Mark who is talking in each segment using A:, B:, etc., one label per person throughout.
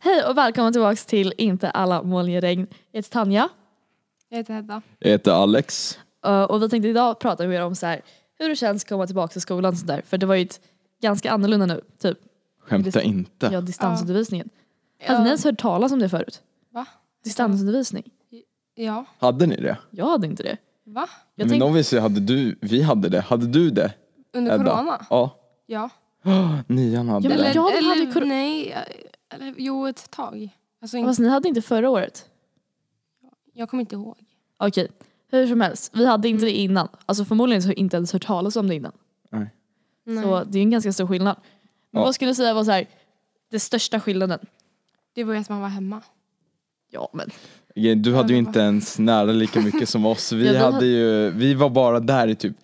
A: Hej och välkomna tillbaka till Inte alla moln regn. Jag heter Tanja
B: Jag heter Hedda.
C: Jag heter Alex.
A: eh, och vi tänkte idag prata mer om så här, hur det känns att komma tillbaka till skolan och sånt där. För det var ju ett, ganska annorlunda nu, typ.
C: Skämta inte.
A: Ja, distansundervisningen. Hade ni ens hört talas om det förut?
B: Va?
A: Distansundervisning?
B: Ja.
C: Hade ni det?
A: Jag hade inte det.
B: Va?
A: Jag
C: Men
A: tänkte,
C: obviously hade du, vi hade det. Hade du det?
B: Under
C: Edda?
B: corona?
C: Ja.
B: Ja.
C: Nian hade
A: Ja, men
C: det.
A: Eller- jag hade
B: eller
A: corona.
B: nej. eh, Eller, jo, ett tag. Alltså, in,
A: fast ni hade inte förra året?
B: jag kommer inte ihåg.
A: Okej, hur som helst. Vi hade inte det innan. Alltså förmodligen så inte ens hört talas om det innan. Så det är en ganska stor skillnad. Men
C: Ja.
A: vad skulle du säga var så här, det största skillnaden?
B: Det var ju att man var hemma.
A: Ja men.
C: Okej, Du hade ju inte ens nära lika mycket som oss.
A: Ja,
C: Vi,
A: vi
C: hade ju, vi var bara där i typ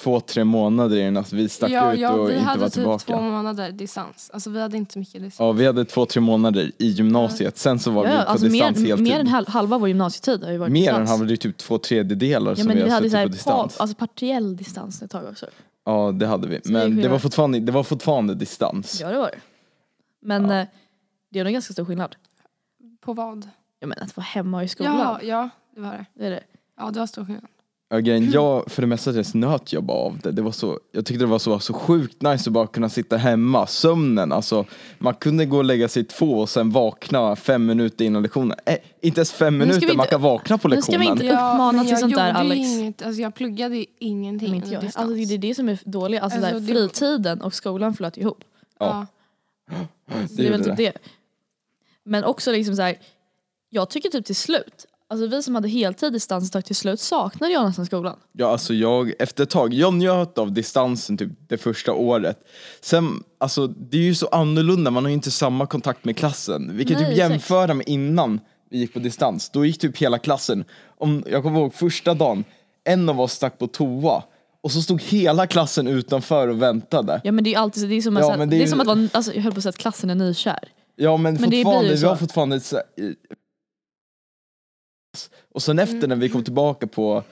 C: två, tre månader innan att vi stack
B: ja,
C: ut
B: ja,
C: och
B: vi
C: inte
B: hade
C: var
B: typ två
C: tillbaka.
B: månader distans. Alltså vi hade inte så mycket distans.
C: Ja, vi hade två, tre månader i gymnasiet. Sen så var
A: Ja,
C: vi
A: ja,
C: på
A: alltså
C: distans
A: mer,
C: heltid.
A: mer än hal- halva vår gymnasietid har ju varit
C: mer än
A: distans.
C: halva, det är typ två tredjedelar
A: Ja
C: som
A: men vi hade
C: har
A: så
C: suttit
A: här,
C: på distans.
A: pa- alltså partiell distans ett tag också.
C: Ja, det hade vi.
A: är det
C: Men det var
A: skillnad.
C: fortfarande, det var fortfarande distans.
A: Ja det var det. Men eh, det är nog ganska stor skillnad.
B: På vad?
A: Jag menar att vara hemma i skolan.
B: Ja, ja, det var det.
A: Det är det.
B: Ja, det var stor skillnad.
C: Again, jag för det mesta så nöt jag bara av det. det var så, jag tyckte det var så, så sjukt nice att bara kunna sitta hemma. Sömnen, alltså. Man kunde gå och lägga sig två och sen vakna fem minuter innan lektionen. Eh, inte ens fem
A: ska vi
C: minuter, man
A: inte-
C: kan vakna på
A: nu ska vi
C: lektionen.
A: inte- Uppmana
B: men
A: till
B: jag
A: sånt där,
B: gjorde ju
A: Alex.
B: Inget, alltså jag pluggade ju ingenting
A: Men Inte jag.
B: under
A: Alltså, det är det som är dåligt. Alltså,
B: Alltså,
A: där,
B: det-
A: fritiden och skolan flöt ihop.
B: ja.
A: Det, är väl
C: gjorde
A: typ det. Men också liksom så här, jag tycker typ till slut, alltså vi som hade heltid distans ett tag, till slut saknade jag nästan skolan.
C: Ja, alltså jag, efter ett tag, jag njöt av distansen typ det första året. Sen, alltså det är ju så annorlunda, man har ju inte samma kontakt med klassen. Vi kan
A: Nej,
C: typ
A: exakt.
C: jämföra med innan vi gick på distans, då gick typ hela klassen, om, jag kommer ihåg första dagen, en av oss stack på toa och så stod hela klassen utanför och väntade.
A: Ja men det är ju alltid så- det är som, att
C: Ja,
A: så här,
C: men
A: det är
C: det är
A: som
C: ju-
A: att vara, alltså, jag höll på att säga att klassen är nykär.
C: Ja men,
A: Men det blir ju
C: fortfarande, vi
A: så.
C: har fortfarande så, Och sen efter när vi kom tillbaka på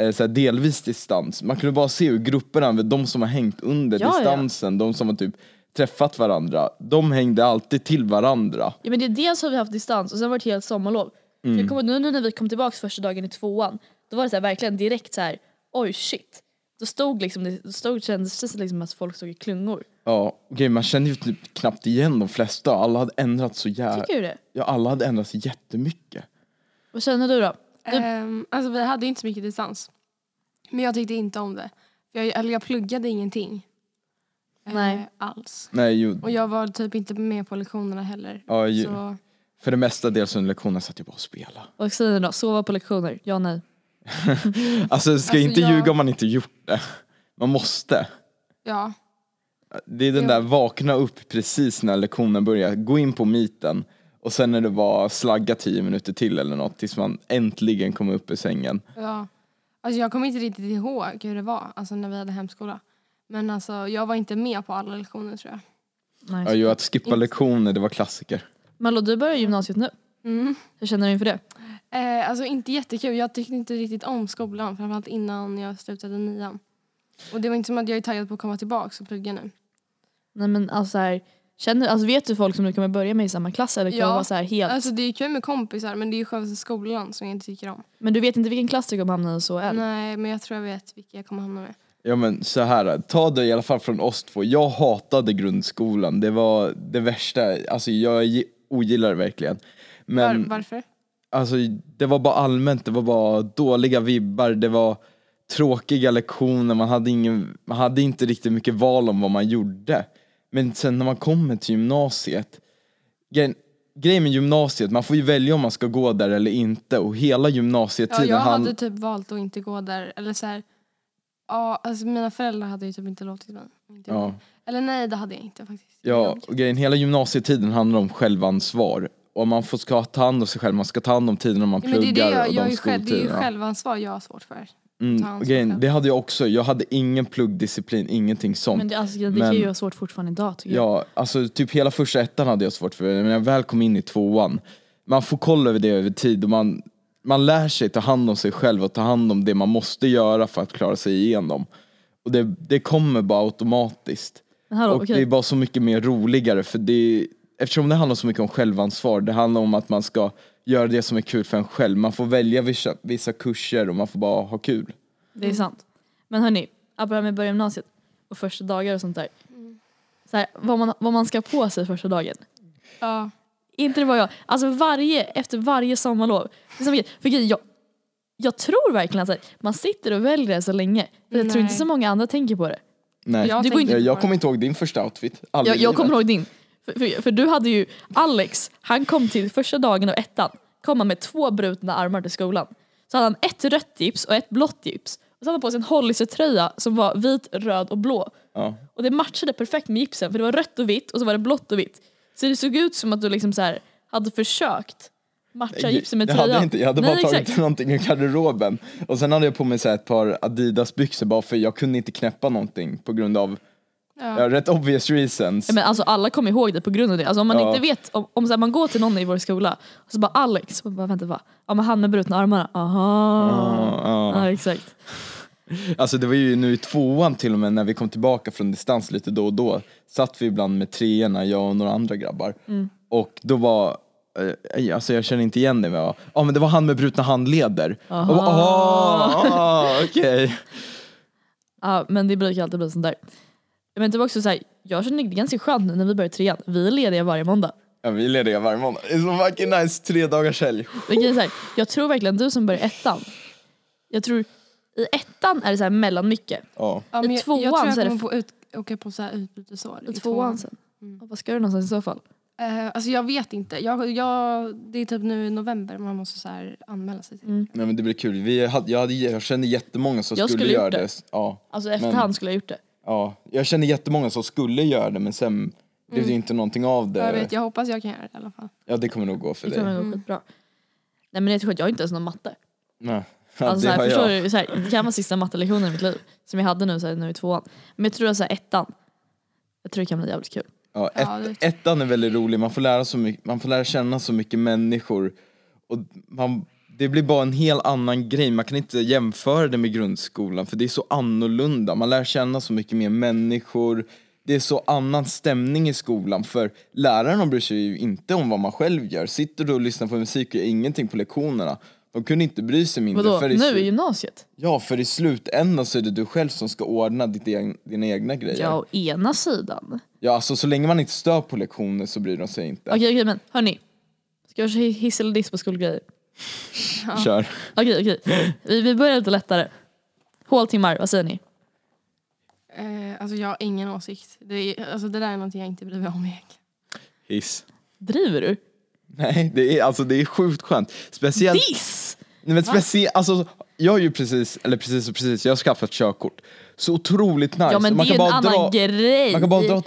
C: eh, så här, delvis distans, man kunde bara se hur grupperna, de som har hängt under
A: Ja, ja.
C: distansen, de som har typ träffat varandra, de hängde alltid till varandra.
A: Ja men det är dels har vi haft distans och sen var det ett helt sommarlov. Så
C: Mm.
A: jag kommer ihåg nu, nu när vi kom tillbaka första dagen i tvåan, då var det så här, verkligen direkt så här, oj shit. Då stod liksom, det- då stod, kändes det liksom att folk stod i klungor.
C: Ja, okej man kände ju typ knappt igen de flesta, alla hade ändrat så jävla...
A: Tycker du det?
C: Ja, alla hade ändrat sig jättemycket.
A: Vad känner du då? Du-
B: Ehm, alltså vi hade inte så mycket distans. Men jag tyckte inte om det. Jag, eller jag pluggade ingenting. eh,
A: Nej.
B: alls.
C: Nej, jo,
B: Och jag var typ inte med på lektionerna heller.
C: ja, ju,
B: Så,
C: för det mesta dels under lektionen satt jag bara och spelade.
A: Vad säger ni då? Sova på lektioner? Ja nej.
C: Alltså
B: Alltså,
C: ska inte
B: jag-
C: ljuga om man inte gjort det. Man måste.
B: ja.
C: Det är den
B: Ja.
C: där vakna upp precis när lektionen börjar, gå in på meeten och sen är det bara slagga 10 minuter till eller något tills man äntligen kommer upp ur sängen.
B: ja. Alltså jag kommer inte riktigt ihåg hur det var alltså när vi hade hemskola. Men alltså jag var inte med på alla lektioner tror jag.
A: nej.
C: Ja, ju att skippa
B: Inte-
C: lektioner, det var klassiker.
A: Malou, du börjar gymnasiet nu.
B: Mm.
A: Hur känner du inför det?
B: Eh, alltså inte jättekul. Jag tyckte inte riktigt om skolan. Framförallt innan jag slutade nian. Och det var inte som att jag är taggad på att komma tillbaka och plugga nu.
A: Nej men alltså så här, känner, alltså vet du folk som du kommer börja med i samma klass eller kommer
B: Ja.
A: vara så här helt?
B: Alltså det är kul med kompisar men det är ju själva skolan som jag inte tycker om.
A: Men du vet inte vilken klass du kommer hamna i så än?
B: Nej men jag tror jag vet vilka jag kommer hamna med.
C: Ja men så här, ta det i alla fall från oss två. Jag hatade grundskolan, det var det värsta, alltså jag gi- ogillar det verkligen.
B: Var,
C: Men
B: varför?
C: alltså det var bara allmänt, det var bara dåliga vibbar, det var tråkiga lektioner, man hade, ingen, man hade inte riktigt mycket val om vad man gjorde. Men sen när man kommer till gymnasiet, grejen, grejen med gymnasiet, man får ju välja om man ska gå där eller inte och hela
B: Ja,
C: gymnasietiden
B: jag
C: han-
B: hade typ valt att inte gå där. Eller så här, ja, alltså mina föräldrar hade ju typ inte låtit mig. Inte
C: Ja.
B: Eller nej det hade jag inte faktiskt.
C: Ja, och grejen, hela gymnasietiden handlar om självansvar. Och man får ska ta hand om sig själv, man ska ta hand om tiden om man
B: Ja, men det
C: pluggar
B: är det jag,
C: och
B: jag är
C: de
B: ju själv, det är ju
C: skoltiderna.
B: självansvar jag har svårt för.
C: Mm,
B: ta ansvar
C: och grejen,
B: själv.
C: det hade jag också, jag hade ingen pluggdisciplin, ingenting sånt.
A: Men det, alltså, det kan
C: Men-
A: ju vara svårt fortfarande idag tycker jag.
C: Ja, alltså typ hela första ettan hade jag svårt för, men när jag väl kom in i tvåan, man får koll över det över tid och man, man lär sig ta hand om sig själv och ta hand om det man måste göra för att klara sig igenom. Och det, det kommer bara automatiskt.
A: Men hallå,
C: och
A: okej.
C: det är bara så mycket mer roligare för det, eftersom det handlar så mycket om självansvar, det handlar om att man ska göra det som är kul för en själv. Man får välja vissa, vissa kurser och man får bara ha kul.
A: Det är sant. Men hörni, apropå det här med börja gymnasiet och första dagar och sånt där. Så här, vad, man, vad man ska ha på sig första dagen.
B: Ja.
A: Inte det bara jag. Alltså varje, efter varje sommarlov. Det är som, för grejen, jag, jag tror verkligen att så här, man sitter och väljer det så länge. För jag tror
B: Nej.
A: inte så många andra tänker på det.
C: Nej.
B: Jag,
A: Du går
B: tänker
C: Jag,
B: på
C: jag
B: det.
C: kommer inte ihåg din första outfit. Aldrig
A: Jag,
C: i
A: jag
C: livet.
A: kommer ihåg din. För, för, för du hade ju Alex, han kom till första dagen av ettan. Kom han med två brutna armar till skolan. Så hade han ett rött gips och ett blått gips. Och så hade han på sig en Hollister-tröja som var vit, röd och blå.
C: Ja.
A: Och det matchade perfekt med gipsen för det var rött och vitt och så var det blått och vitt. Så det såg ut som att du liksom så här hade försökt matcha gipsen med
C: jag hade,
A: tröjan.
C: inte, jag hade bara
A: Nej,
C: tagit
A: exakt.
C: någonting ur garderoben. Och sen hade jag på mig så här ett par Adidas byxor bara för jag kunde inte knäppa någonting på grund av
B: Ja.
C: ja. rätt obvious reasons.
A: Ja, Men alltså alla kommer ihåg det på grund av det. Alltså om man
C: Ja.
A: inte vet, om, om så här, man går till någon i vår skola och så bara Alex, och bara, vänta va? Ja men han med brutna armarna, aha.
C: Ja, ja.
A: Ja exakt.
C: Alltså det var ju nu i tvåan till och med när vi kom tillbaka från distans lite då och då satt vi ibland med treorna, jag och några andra grabbar.
A: Mm.
C: Och då var, eh, alltså jag känner inte igen det men jag, ja men det var han med brutna handleder. Jag bara, "Ah, ah, Okej.
A: Ja men det brukar alltid bli sånt där. Men det var också så här, jag känner det är ganska skönt nu när vi börjar trean. Vi är lediga varje måndag.
C: Ja, vi är lediga varje måndag. Det är så fucking nice, tre dagars helg.
A: Men grejen är så här, jag tror verkligen du som börjar ettan. Jag tror i ettan är det så här mellan mycket.
C: Ja.
B: Ja, men
A: I
B: jag,
A: tvåan
B: jag tror jag
A: så är det
B: kommer få ut, åka på så här utbytesår.
A: I tvåan Mm. sen. Ja, Vad ska du någonstans i så fall?
B: Eh, alltså jag vet inte. Jag, jag, det är typ nu i november man måste så här anmäla sig till.
A: Mm.
C: Nej men det blir kul. Vi hade, jag, hade, jag kände jättemånga som
A: Jag
C: skulle,
A: skulle
C: göra
A: gjort
C: det.
A: det.
C: Ja,
A: Alltså i efterhand skulle jag gjort det.
C: ja. Jag kände jättemånga som skulle göra det men sen blev
A: Mm.
C: det ju inte någonting av det.
B: Jag, vet, jag hoppas jag kan göra det i alla fall.
C: Ja det kommer nog gå för
A: Det kommer
C: dig.
A: gå skitbra. Nej men det är sjukt, jag har inte ens någon matte.
C: Nej. Ja,
A: Alltså,
C: det
A: så här,
C: har
A: förstår
C: jag.
A: du, så här, det kan vara sista mattelektionen i mitt liv. Som jag hade nu, så här, nu i tvåan. Men jag tror att så här, ettan, jag tror det kan bli jävligt kul.
C: Ja, ett,
B: Ja, det-
C: ettan är väldigt rolig, man får, lära så mycket, man får lära känna så mycket människor. Och man, det blir bara en helt annan grej, man kan inte jämföra det med grundskolan för det är så annorlunda. Man lär känna så mycket mer människor, det är så annan stämning i skolan för lärarna bryr sig ju inte om vad man själv gör. Sitter du och lyssnar på musik och gör ingenting på lektionerna, de kunde inte bry sig mindre.
A: Vadå,
C: för i
A: nu
C: slu-
A: i gymnasiet?
C: Ja, för i slutändan så är det du själv som ska ordna ditt egen, dina egna grejer.
A: Ja, å ena sidan.
C: Ja, alltså så länge man inte stör på lektioner så bryr de sig inte.
A: Okej, okej men hörni. Ska jag köra hiss eller diss på skolgrejer?
C: Kör.
A: Okej, okej. Vi, vi börjar lite lättare. Håltimmar, vad säger ni?
B: Eh, alltså jag har ingen åsikt. Det, är, alltså det där är någonting jag inte bryr mig om egentligen.
C: Hiss.
A: Driver du?
C: Nej, det är, alltså, det är sjukt skönt. Speciellt,
A: Diss!
C: nej, men speciellt alltså, jag har ju precis, eller precis och precis, jag har skaffat körkort. Så otroligt nice.
A: Ja men
C: man
A: det är
C: kan
A: ju en
C: bara
A: annan
C: dra,
A: grej.
C: man kan bara dra,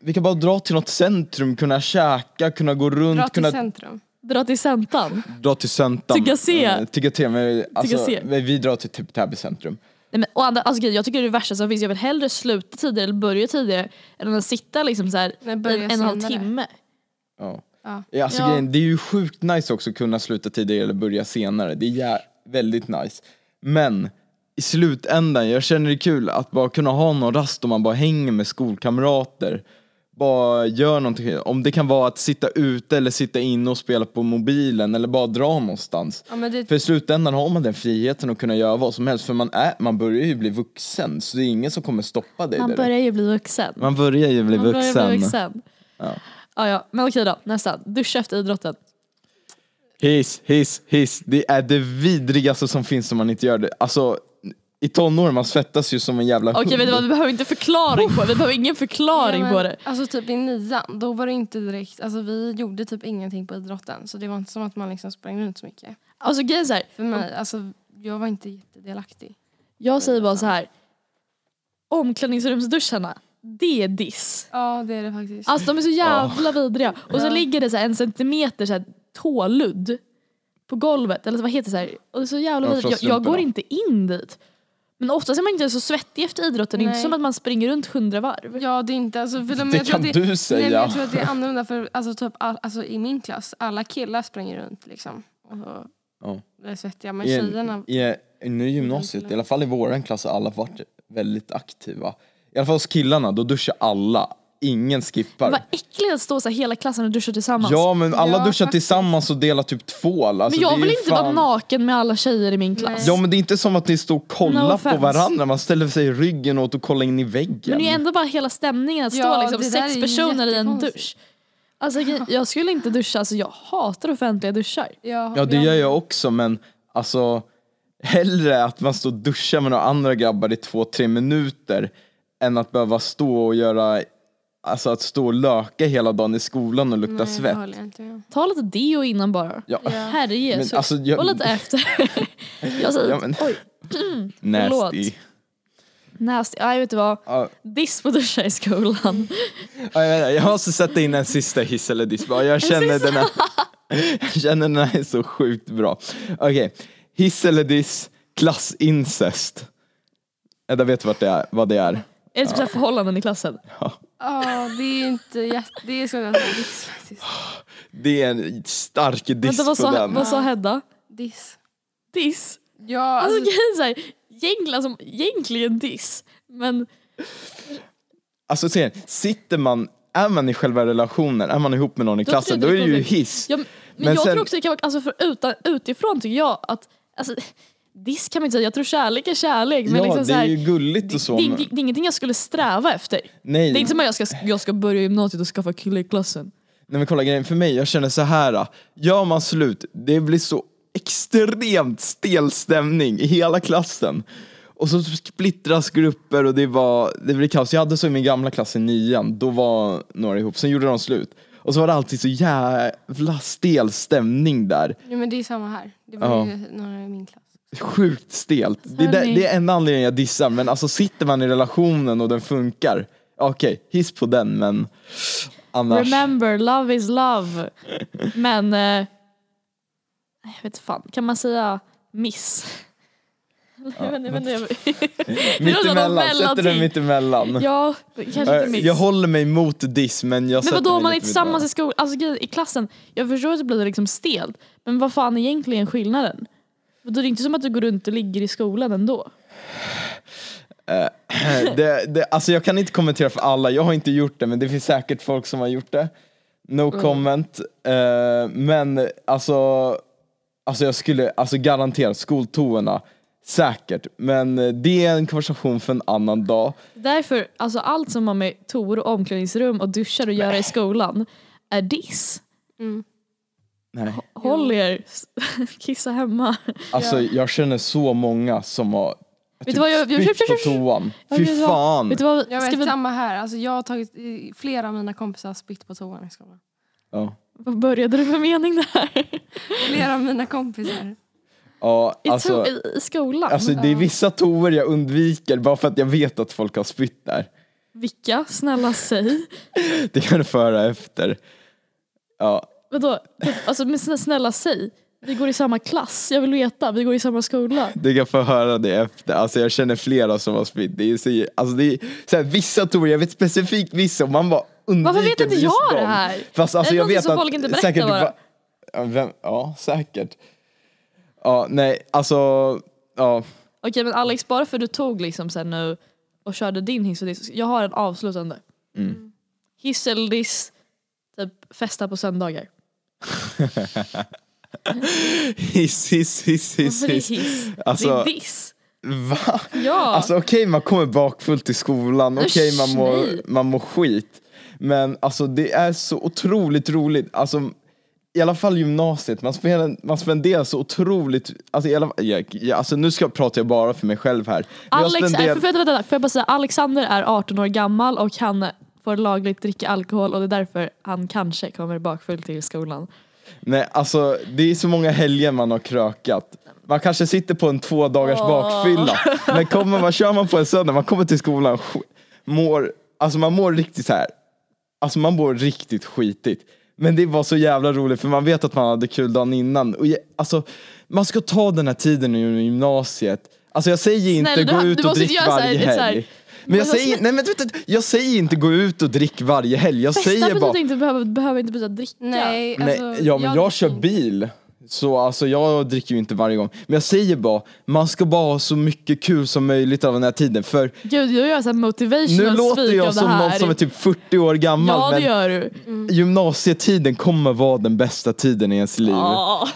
C: Vi kan bara dra till något centrum, kunna käka, kunna gå runt,
B: Dra till
C: kunna
B: centrum.
A: Dra till Sentan.
C: dra till Söntan. eh,
A: Tycka se.
C: Tycka se, men alltså,
A: Tycka se.
C: men vi drar till typ Täby centrum.
A: Nej, men, och andra, alltså, grejen, jag tycker det är det värsta som finns. Jag vill hellre sluta tidigare eller börja tidigare än att sitta liksom, så här,
B: Nej,
A: en,
B: börja
A: en och en halv
B: senare.
A: timme.
C: Ja.
B: Ja.
C: Ja, Alltså,
A: Ja.
C: Grejen, det är ju sjukt nice också att kunna sluta tidigare eller börja senare. Det är jä- väldigt nice. Men i slutändan, jag känner det kul att bara kunna ha någon rast om man bara hänger med skolkamrater. Bara gör någonting. Om det kan vara att sitta ute eller sitta inne och spela på mobilen eller bara dra någonstans.
B: Ja, men det,
C: För i slutändan har man den friheten att kunna göra vad som helst för man, är, man börjar ju bli vuxen så det är ingen som kommer stoppa dig.
A: Man
C: där.
A: börjar ju bli vuxen.
C: man börjar ju bli
A: Man börjar
C: vuxen.
A: bli vuxen.
C: Ja.
A: Ja, ja. Men okej då, nästa. Duscha efter idrotten.
C: Hiss, hiss, hiss. Det är det vidrigaste som finns om man inte gör det. Alltså, i tonåren man svettas ju som en jävla
A: Okej
C: hund.
A: vet du vad, vi behöver inte förklaring på det. Vi behöver ingen förklaring
B: Ja, men,
A: på det.
B: Alltså typ i nian, då var det inte direkt, alltså vi gjorde typ ingenting på idrotten. Så det var inte som att man liksom sprang runt så mycket.
A: Alltså grejen är så här,
B: För mig, alltså jag var inte jättedelaktig.
A: jag säger bara så här. Omklädningsrumsduscharna, det är diss.
B: Ja det är det faktiskt.
A: Alltså de är så jävla vidriga. Och så
B: Ja.
A: ligger det så här en centimeter så här tåludd på golvet. Eller så vad heter det? Så här. Och det är så jävla
C: Ja,
A: vidrigt. Jag, jag
C: froststrumporna.
A: går inte in dit. Men oftast är man inte så svettig efter idrotten. Det är inte
B: Nej.
A: som att man springer runt hundra varv.
B: Ja det är inte, alltså, för de,
C: Det
B: jag tror
C: kan
B: att det,
C: du
B: Nej,
C: säga.
B: men jag tror att det är annorlunda för alltså, typ, all, alltså, i min klass, alla killar springer runt liksom. Och, så-
C: Ja.
B: det är svettiga, men
C: I,
B: tjejerna...
C: i, I nu i gymnasiet, i alla fall i våran klass, har alla varit väldigt aktiva. I alla fall hos killarna, då duschar alla. ingen skippar.
A: Vad äckligt att stå så här hela klassen och duscha tillsammans.
C: Ja men alla
B: Ja,
C: duschar
B: faktiskt.
C: tillsammans och delar typ tvål. Alltså,
A: men jag
C: det är
A: vill
C: ju
A: inte vara
C: fan-
A: naken med alla tjejer i min klass.
B: Nej.
C: Ja men det är inte som att ni står och
A: No
C: kollar
A: offense.
C: på varandra, man ställer sig i ryggen åt och kollar in i väggen.
A: Men det är ju ändå bara hela stämningen att
B: Ja,
A: stå liksom
B: det där är
A: sex
B: ju
A: personer i en
B: jättekonstigt.
A: dusch. Alltså jag- jag skulle inte duscha, alltså jag hatar offentliga duschar.
B: Ja,
C: Ja det gör jag också men alltså hellre att man står och duschar med några andra grabbar i två, tre minuter än att behöva stå och göra, alltså att stå och löka hela dagen i skolan och lukta
B: Nej, det
C: svett.
B: håller jag inte med om.
A: Ta lite deo innan bara.
C: Ja.
B: Ja.
A: Herre Jesus.
C: Men alltså, jag-
A: Och lite efter. jag säger
C: Ja, men,
A: oj,
C: nasty.
A: förlåt. nasty. Nej vet du vad,
C: Ja,
A: diss på duschar i skolan.
C: ja, jag vet inte, jag måste sätta in en sista hiss eller diss bara. Jag känner den här, jag känner den här är så sjukt bra. Okej, hiss eller diss, klassincest. Edda vet vart det är, vad det är.
A: Är det typ så här förhållanden i klassen?
B: Ja, det är inte jätte... Det är så jävla diss faktiskt.
C: Det är en stark diss
A: Vänta vad
C: på
A: sa,
C: den.
A: vad sa Hedda?
B: Diss.
A: Diss?
B: Ja,
A: Alltså
B: alltså,
A: grejen är såhär, egentligen, alltså, egentligen diss. Men
C: Alltså ser, sitter man, är man i själva relationen, är man ihop med någon i
A: Då
C: klassen,
A: tror
C: då
A: jag
C: är
A: det
C: det ju
A: kommer-
C: hiss.
A: Ja, men,
C: Men
A: jag
C: sen-
A: tror också det kan vara, alltså för utan, utifrån tycker jag att, alltså, diss kan man inte säga, jag tror kärlek är kärlek. Men
C: Ja,
A: liksom
C: det
A: så
C: är
A: här,
C: ju gulligt och så.
A: det,
C: men-
A: det, det är ingenting jag skulle sträva efter.
C: Nej,
A: Det är inte som att jag ska, jag ska börja gymnasiet och skaffa kille i klassen.
C: nej men kolla grejen för mig, jag känner så här. ah, Gör man slut, det blir så extremt stel stämning i hela klassen. Och så splittras grupper och det, var, det blir kaos. Jag hade så i min gamla klass i nian, då var några ihop, sen gjorde de slut. Och så var det alltid så jävla stel stämning där.
B: nej, men det är samma här. Det var
C: Ja.
B: ju några i min klass.
C: Sjukt stelt. Det, där,
A: Hörni.
C: det är en anledning jag dissar, men alltså sitter man i relationen och den funkar, okej, hiss på den men annars.
A: Remember, love is love. Men, eh, jag vet fan, kan man säga miss? jag vet inte, jag vet inte. det låter som någon
C: mittemellan, sätter den
A: mellanting.
C: mittemellan.
A: ja, kanske
C: Eh,
A: inte miss.
C: jag håller mig mot diss men jag
A: Men
C: sätter
A: vadå
C: den
A: om man är
C: lite
A: tillsammans i
C: mittemellan.
A: skolan, alltså grejen- i klassen. Jag förstår att det blir liksom stelt. Men vad fan är egentligen skillnaden? Då är det inte som att du går runt och ligger i skolan ändå.
C: det, det, alltså jag kan inte kommentera för alla, jag har inte gjort det men det finns säkert folk som har gjort det. No
A: Mm.
C: comment. Eh, men alltså, alltså jag skulle alltså garanterat skoltoorna, säkert. Men eh, det är en konversation för en annan dag.
A: Därför, alltså allt som har med toor och omklädningsrum och duschar att göra i skolan är diss.
B: Mm.
C: Nej.
A: Håll er, kissa hemma.
C: Alltså jag känner så många som har
A: du vad jag- jag-
C: spytt
A: jag- jag-
C: på toan.
A: Ja,
C: Fy
A: vet du vad?
C: fan.
A: Vet du vad,
B: Jag
A: ska
B: vet,
A: vi
B: samma här. Alltså, jag har tagit, i- flera av mina kompisar har spytt på toan i skolan.
C: Ja.
A: vad började du för mening där?
B: Flera av mina kompisar.
C: Ja,
A: I,
C: alltså,
A: to- i, i skolan?
C: alltså det är vissa toor jag undviker bara för att jag vet att folk har spytt där.
A: Vilka? Snälla säg.
C: Det kan du föra efter. Ja,
A: Vadå? Alltså men snä- snälla säg. Vi går i samma klass, jag vill veta. Vi går i samma skola.
C: du kan få höra det efter. Alltså jag känner flera som har spytt. Det är så, alltså det är, så här, vissa toor, jag vet specifikt vissa och man bara undviker
A: Varför vet inte
C: just
A: jag det
C: dem.
A: här?
C: Fast alltså
A: Är det
C: jag
A: någonting
C: vet
A: som
C: att
A: folk inte berättar
C: säkert
A: bara?
C: va- ja, vem, ja, säkert. Ja, nej, alltså, ja.
A: Okej men Alex, bara för du tog liksom sen nu och körde din hiss och diss. Jag har en avslutande. Hiss eller diss, typ festa på söndagar.
C: Hiss, hiss, hiss, hiss,
A: Varför det är
C: hiss.
A: hiss? det
C: Alltså,
A: är diss.
C: va?
A: Ja.
C: Alltså okej, man kommer bakfull till skolan, okej
A: Usch,
C: man, mår,
A: nej.
C: man mår skit. Men alltså det är så otroligt roligt, alltså i alla fall gymnasiet, man spenderar, man spenderar så otroligt, alltså, i alla, jag, jag, alltså nu ska, pratar jag bara för mig själv här. Men jag
A: Alex är,
C: spenderar-
A: för, vänta, vänta, får jag bara säga, Alexander är 18 år gammal och han får lagligt dricka alkohol och det är därför han kanske kommer bakfull till skolan.
C: Nej, alltså det är så många helger man har krökat. Man kanske sitter på en två dagars
A: Åh.
C: bakfylla. Men kommer man, kör man på en söndag, man kommer till skolan, sk- mår, alltså man mår riktigt så här. Alltså man mår riktigt skitigt. Men det var så jävla roligt för man vet att man hade kul dagen innan. Och jag, alltså, man ska ta den här tiden i gymnasiet. Alltså jag säger inte
A: Snälla,
C: gå
A: du-
C: ut
A: du
C: och
A: måste inte
C: drick
A: göra så här,
C: varje
A: det är så här-
C: helg. Men jag
A: Men
C: säger, nej, men, vänta, jag säger inte gå ut och drick varje helg. Jag
A: Festa
C: säger
A: betyder
C: bara
A: inte behöver, behöver inte betyda dricka.
B: Nej,
C: Nej,
B: alltså,
C: ja men jag,
B: dricker
C: kör
B: inte.
C: bil. Så alltså jag dricker ju inte varje gång. Men jag säger bara, man ska bara ha så mycket kul som möjligt av den här tiden. För
A: Gud, jag gör såhär
C: nu
A: motivational
C: låter
A: speak
C: jag
A: av det
C: som någon
A: här.
C: som är typ 40 år gammal.
A: ja, det
C: men
A: gör Mm. du.
C: gymnasietiden kommer vara den bästa tiden i ens liv.
A: Ja.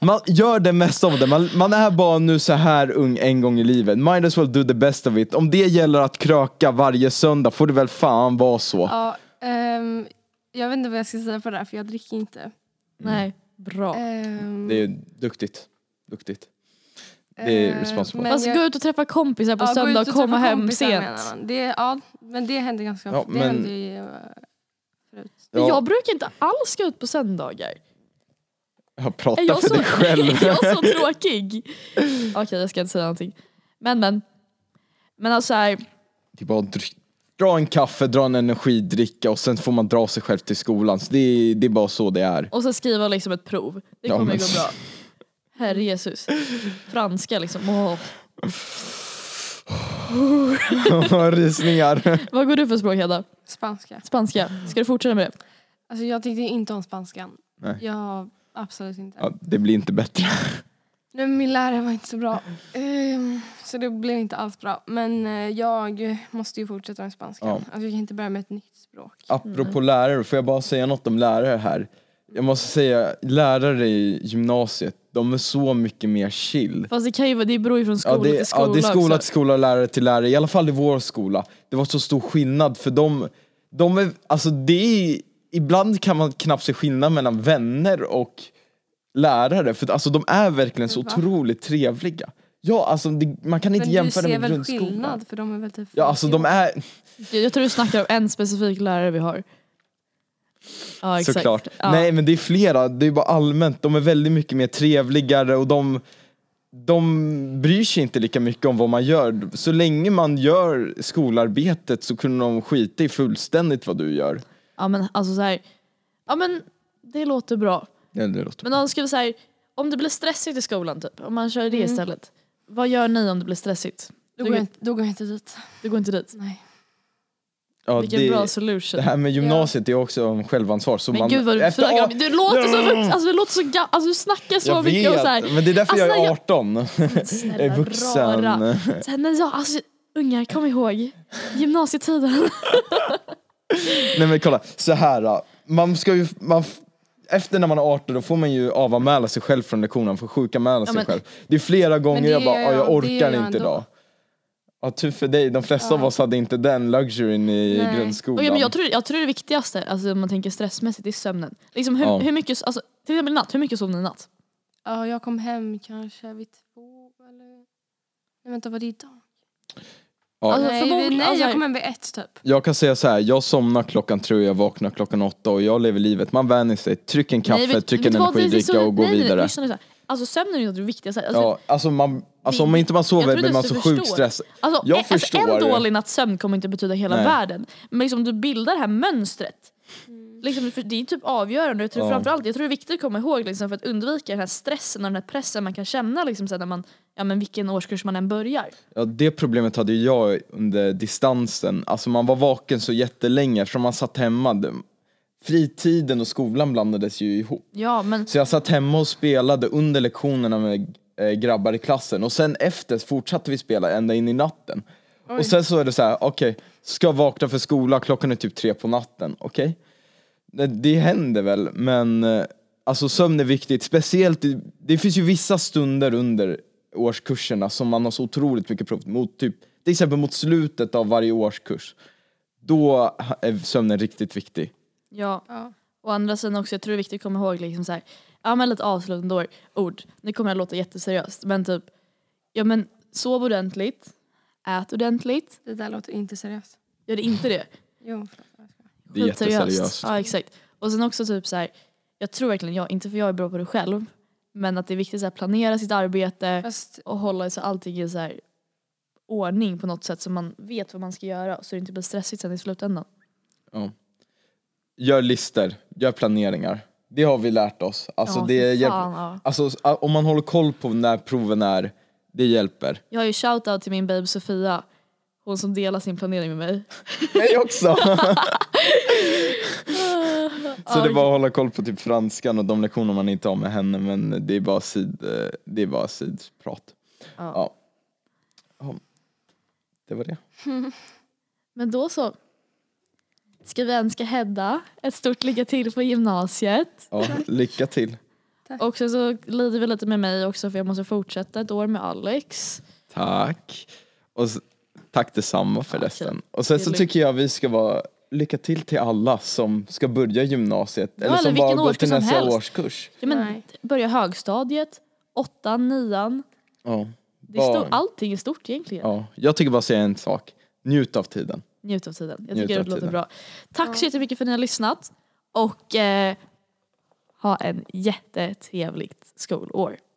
C: Man gör det mesta av det. Man, man är bara nu så här ung en gång i livet. Might as well do the best of it. Om det gäller att kröka varje söndag får det väl fan vara så.
B: Ja, ehm, jag vet inte vad jag ska säga på det här för jag dricker inte.
A: Nej, bra.
B: Ehm,
C: Det är duktigt. Duktigt. det är
B: eh,
C: responsible.
B: men
A: Alltså
B: jag-
A: gå ut och träffa kompisar på
B: Ja, gå
A: söndag
B: ut
A: och
B: träffa
A: komma hem
B: kompisar,
A: sent.
B: menar man. Det, ja, men det händer ganska
C: Ja,
B: ofta. det
C: men-
B: händer ju, eh, förut.
A: Men
C: Ja,
A: jag brukar inte alls gå ut på söndagar.
C: jag
A: Är
C: pratar
A: jag
C: för
A: så,
C: dig själv.
A: är jag så tråkig? Okej, jag ska inte säga någonting. Men men. Men alltså så här,
C: Det är bara att dry- dra en kaffe, dra en energidricka och sen får man dra sig själv till skolan. Så det, är, det är bara så det är.
A: och så skriva liksom ett prov. Det
C: Ja,
A: kommer
C: men-
A: gå bra. Herre Jesus. Franska liksom. Åh.
C: Rysningar.
A: Vad går du för språk Hedda?
B: Spanska.
A: Spanska. Ska du fortsätta med det?
B: Alltså, jag tyckte inte om spanskan.
C: Nej.
B: Jag, absolut inte.
C: Ja, det blir inte bättre.
B: Nej, men min lärare var inte så bra. Ehm, så det blev inte alls bra. Men eh, jag måste ju fortsätta med spanskan.
C: Ja.
B: Alltså, jag kan inte börja med ett nytt språk.
C: Apropå lärare, får jag bara säga något om lärare här? Jag måste säga, lärare i gymnasiet, de är så mycket mer chill.
A: Fast det kan ju vara, det beror ju från skola
C: Ja, det,
A: till skola
C: ja, det är skola till
A: också.
C: skola och lärare till lärare, i alla fall i vår skola. Det var så stor skillnad för de, de är, alltså det är, ibland kan man knappt se skillnad mellan vänner och lärare, för att, alltså de är verkligen så
B: Va?
C: otroligt trevliga. Ja, alltså det, man kan inte
B: Men du
C: jämföra
B: ser
C: med
B: väl
C: grundskolan.
B: skillnad? För de är väl typ
C: Ja, alltså de är,
A: Jag, jag tror du snackar om en specifik lärare vi har. Ja, exakt.
C: Såklart.
A: Ja.
C: Nej men det är flera, det är bara allmänt, de är väldigt mycket mer trevligare och de, de bryr sig inte lika mycket om vad man gör. Så länge man gör skolarbetet så kunde de skita i fullständigt vad du gör.
A: Ja men alltså så här, ja men det låter bra.
C: Ja, det låter-
A: Men om, skulle så här, om det blir stressigt i skolan typ, om man kör det
B: Mm.
A: istället. Vad gör ni om det blir stressigt?
B: Då
A: Du-
B: går, jag inte, då går jag inte dit.
A: Du går inte dit?
B: Nej.
C: Ja,
A: Vilken
C: det,
A: bra solution.
C: det här med gymnasiet är också om självansvar. Så
A: men
C: man,
A: gud vad du
C: efter-
A: förlöjligar mig. Du låter så
C: Ja.
A: vuxen, alltså du låter så gammal, alltså du snackar så
C: jag
A: mycket
C: vet,
A: och så här.
C: men det är därför jag
A: Alltså,
C: är
A: jag-
C: 18.
A: Snälla,
C: Jag är vuxen.
A: rara. Så här, nej, ja, alltså, ungar kom ihåg gymnasietiden.
C: Nej men kolla, så här. då. Man ska ju, man, f- efter när man är 18 då får man ju avanmäla sig själv från lektionen, man får sjukanmäla sig
A: men-
C: själv. Det är flera gånger
B: det
C: jag bara,
B: gör
C: "Ah,
B: jag-
C: jag
B: det
C: orkar
B: gör jag
C: inte
B: ändå."
C: idag. Ja tur för dig, de flesta av oss hade inte den luxuryn i
B: Nej.
C: grundskolan.
A: Okej, men jag, tror, jag tror det viktigaste, alltså, om man tänker stressmässigt, det är sömnen. Liksom, hur,
C: Ja.
A: hur mycket, alltså, till exempel i natt, hur mycket sov ni i natt?
B: Ja, jag kom hem kanske vid två eller... Nej, vänta, var det idag?
C: Ja.
A: Alltså,
B: nej,
A: förmodligen-
B: vi, nej,
A: alltså-
B: jag kom hem vid ett typ.
C: Jag kan säga så här, jag somnar klockan tre, jag vaknar klockan åtta och jag lever livet. Man vänjer sig, tryck en kaffe,
A: vet-
C: tryck
A: vet
C: en
A: du vad? Det är så-
C: energidricka och gå
A: nej, nej, nej,
C: vidare.
A: lyssna nu så här. Alltså sömnen är ju något av det viktigaste. Alltså,
C: Ja, alltså man, alltså
A: Det-
C: om man inte man sover
A: tror inte
C: blir man
A: ens
C: så
A: du
C: sjukt
A: förstår.
C: stressad.
A: Alltså,
C: Jag
A: en, alltså, en
C: förstår.
A: dålig natts sömn kommer inte betyda hela
C: Nej.
A: världen. Men liksom, du bildar det här mönstret. Liksom, för det är typ avgörande. Jag tror,
C: Ja.
A: framförallt, jag tror det är viktigt att komma ihåg liksom, för att undvika den här stressen och den här pressen man kan känna liksom, så här, när man, ja, men vilken årskurs man än börjar.
C: Ja, det problemet hade ju jag under distansen. Alltså man var vaken så jättelänge eftersom man satt hemma. Det- Fritiden och skolan blandades ju ihop.
A: Ja, men
C: Så jag satt hemma och spelade under lektionerna med eh, grabbar i klassen och sen efter fortsatte vi spela ända in i natten. Och sen så är det så här, okej, ska vakna för skola, klockan är typ tre på natten, okej? Det, det händer väl, men eh, alltså sömn är viktigt, speciellt, i, det finns ju vissa stunder under årskurserna som man har så otroligt mycket prov mot, typ, till exempel mot slutet av varje årskurs. Då är sömnen riktigt viktig.
A: ja.
B: Ja.
A: Å andra sidan också, jag tror det är viktigt att komma ihåg liksom så här, ja men lite avslutande ord- ord, nu kommer jag låta jätteseriöst, men typ, ja men sov ordentligt, ät ordentligt,
B: Det där låter inte seriöst.
A: gör det inte det,
B: Jo, förlåt. jag skojar.
C: Det är
A: Skitseriöst.
C: jätteseriöst.
A: Ja exakt. Och sen också typ så här, jag tror verkligen, jag, inte för jag är bra på det själv, men att det är viktigt att planera sitt arbete
B: Fast
A: och hålla så allting i så här ordning på något sätt så man vet vad man ska göra så det inte blir stressigt sen i slutändan.
C: Gör listor, gör planeringar. Det har vi lärt oss. Alltså,
A: Ja,
C: det
A: fy
C: hjälp-
A: fan, ja.
C: alltså, s- om man håller koll på när proven är, det hjälper.
A: Jag har ju shoutout till min babe Sofia, hon som delar sin planering med mig.
C: Mig också! Så
A: Ja,
C: det var att hålla koll på typ franskan och de lektioner man inte har med henne men det är bara, sid, eh, det är bara sidprat.
A: Ja.
C: Ja. Det var det.
A: Men då så. Ska vi önska Hedda ett stort lycka till på gymnasiet.
C: Ja, lycka till.
A: Och sen så lider vi lite med mig också för jag måste fortsätta ett år med Alex.
C: Tack. Och s- tack detsamma
A: Ja,
C: förresten.
A: kul.
C: Och sen så
A: Kul.
C: tycker jag vi ska vara lycka till till alla som ska börja gymnasiet. eller
A: eller
C: som bara
A: vilken
C: går
A: årskurs
C: till
A: som
C: nästa
A: helst.
C: årskurs.
A: Ja, men
B: Nej.
A: Börja högstadiet, åttan, nian.
C: Ja.
A: Det är stor,
C: Barn.
A: allting är stort egentligen.
C: Ja. Jag tycker bara säga en sak. Njut av tiden.
A: Njut av tiden. Jag
C: Njut
A: tycker
C: av
A: det låter
C: tiden.
A: bra. Tack så jättemycket för att ni har lyssnat. Och eh, ha en jättetrevligt skolår.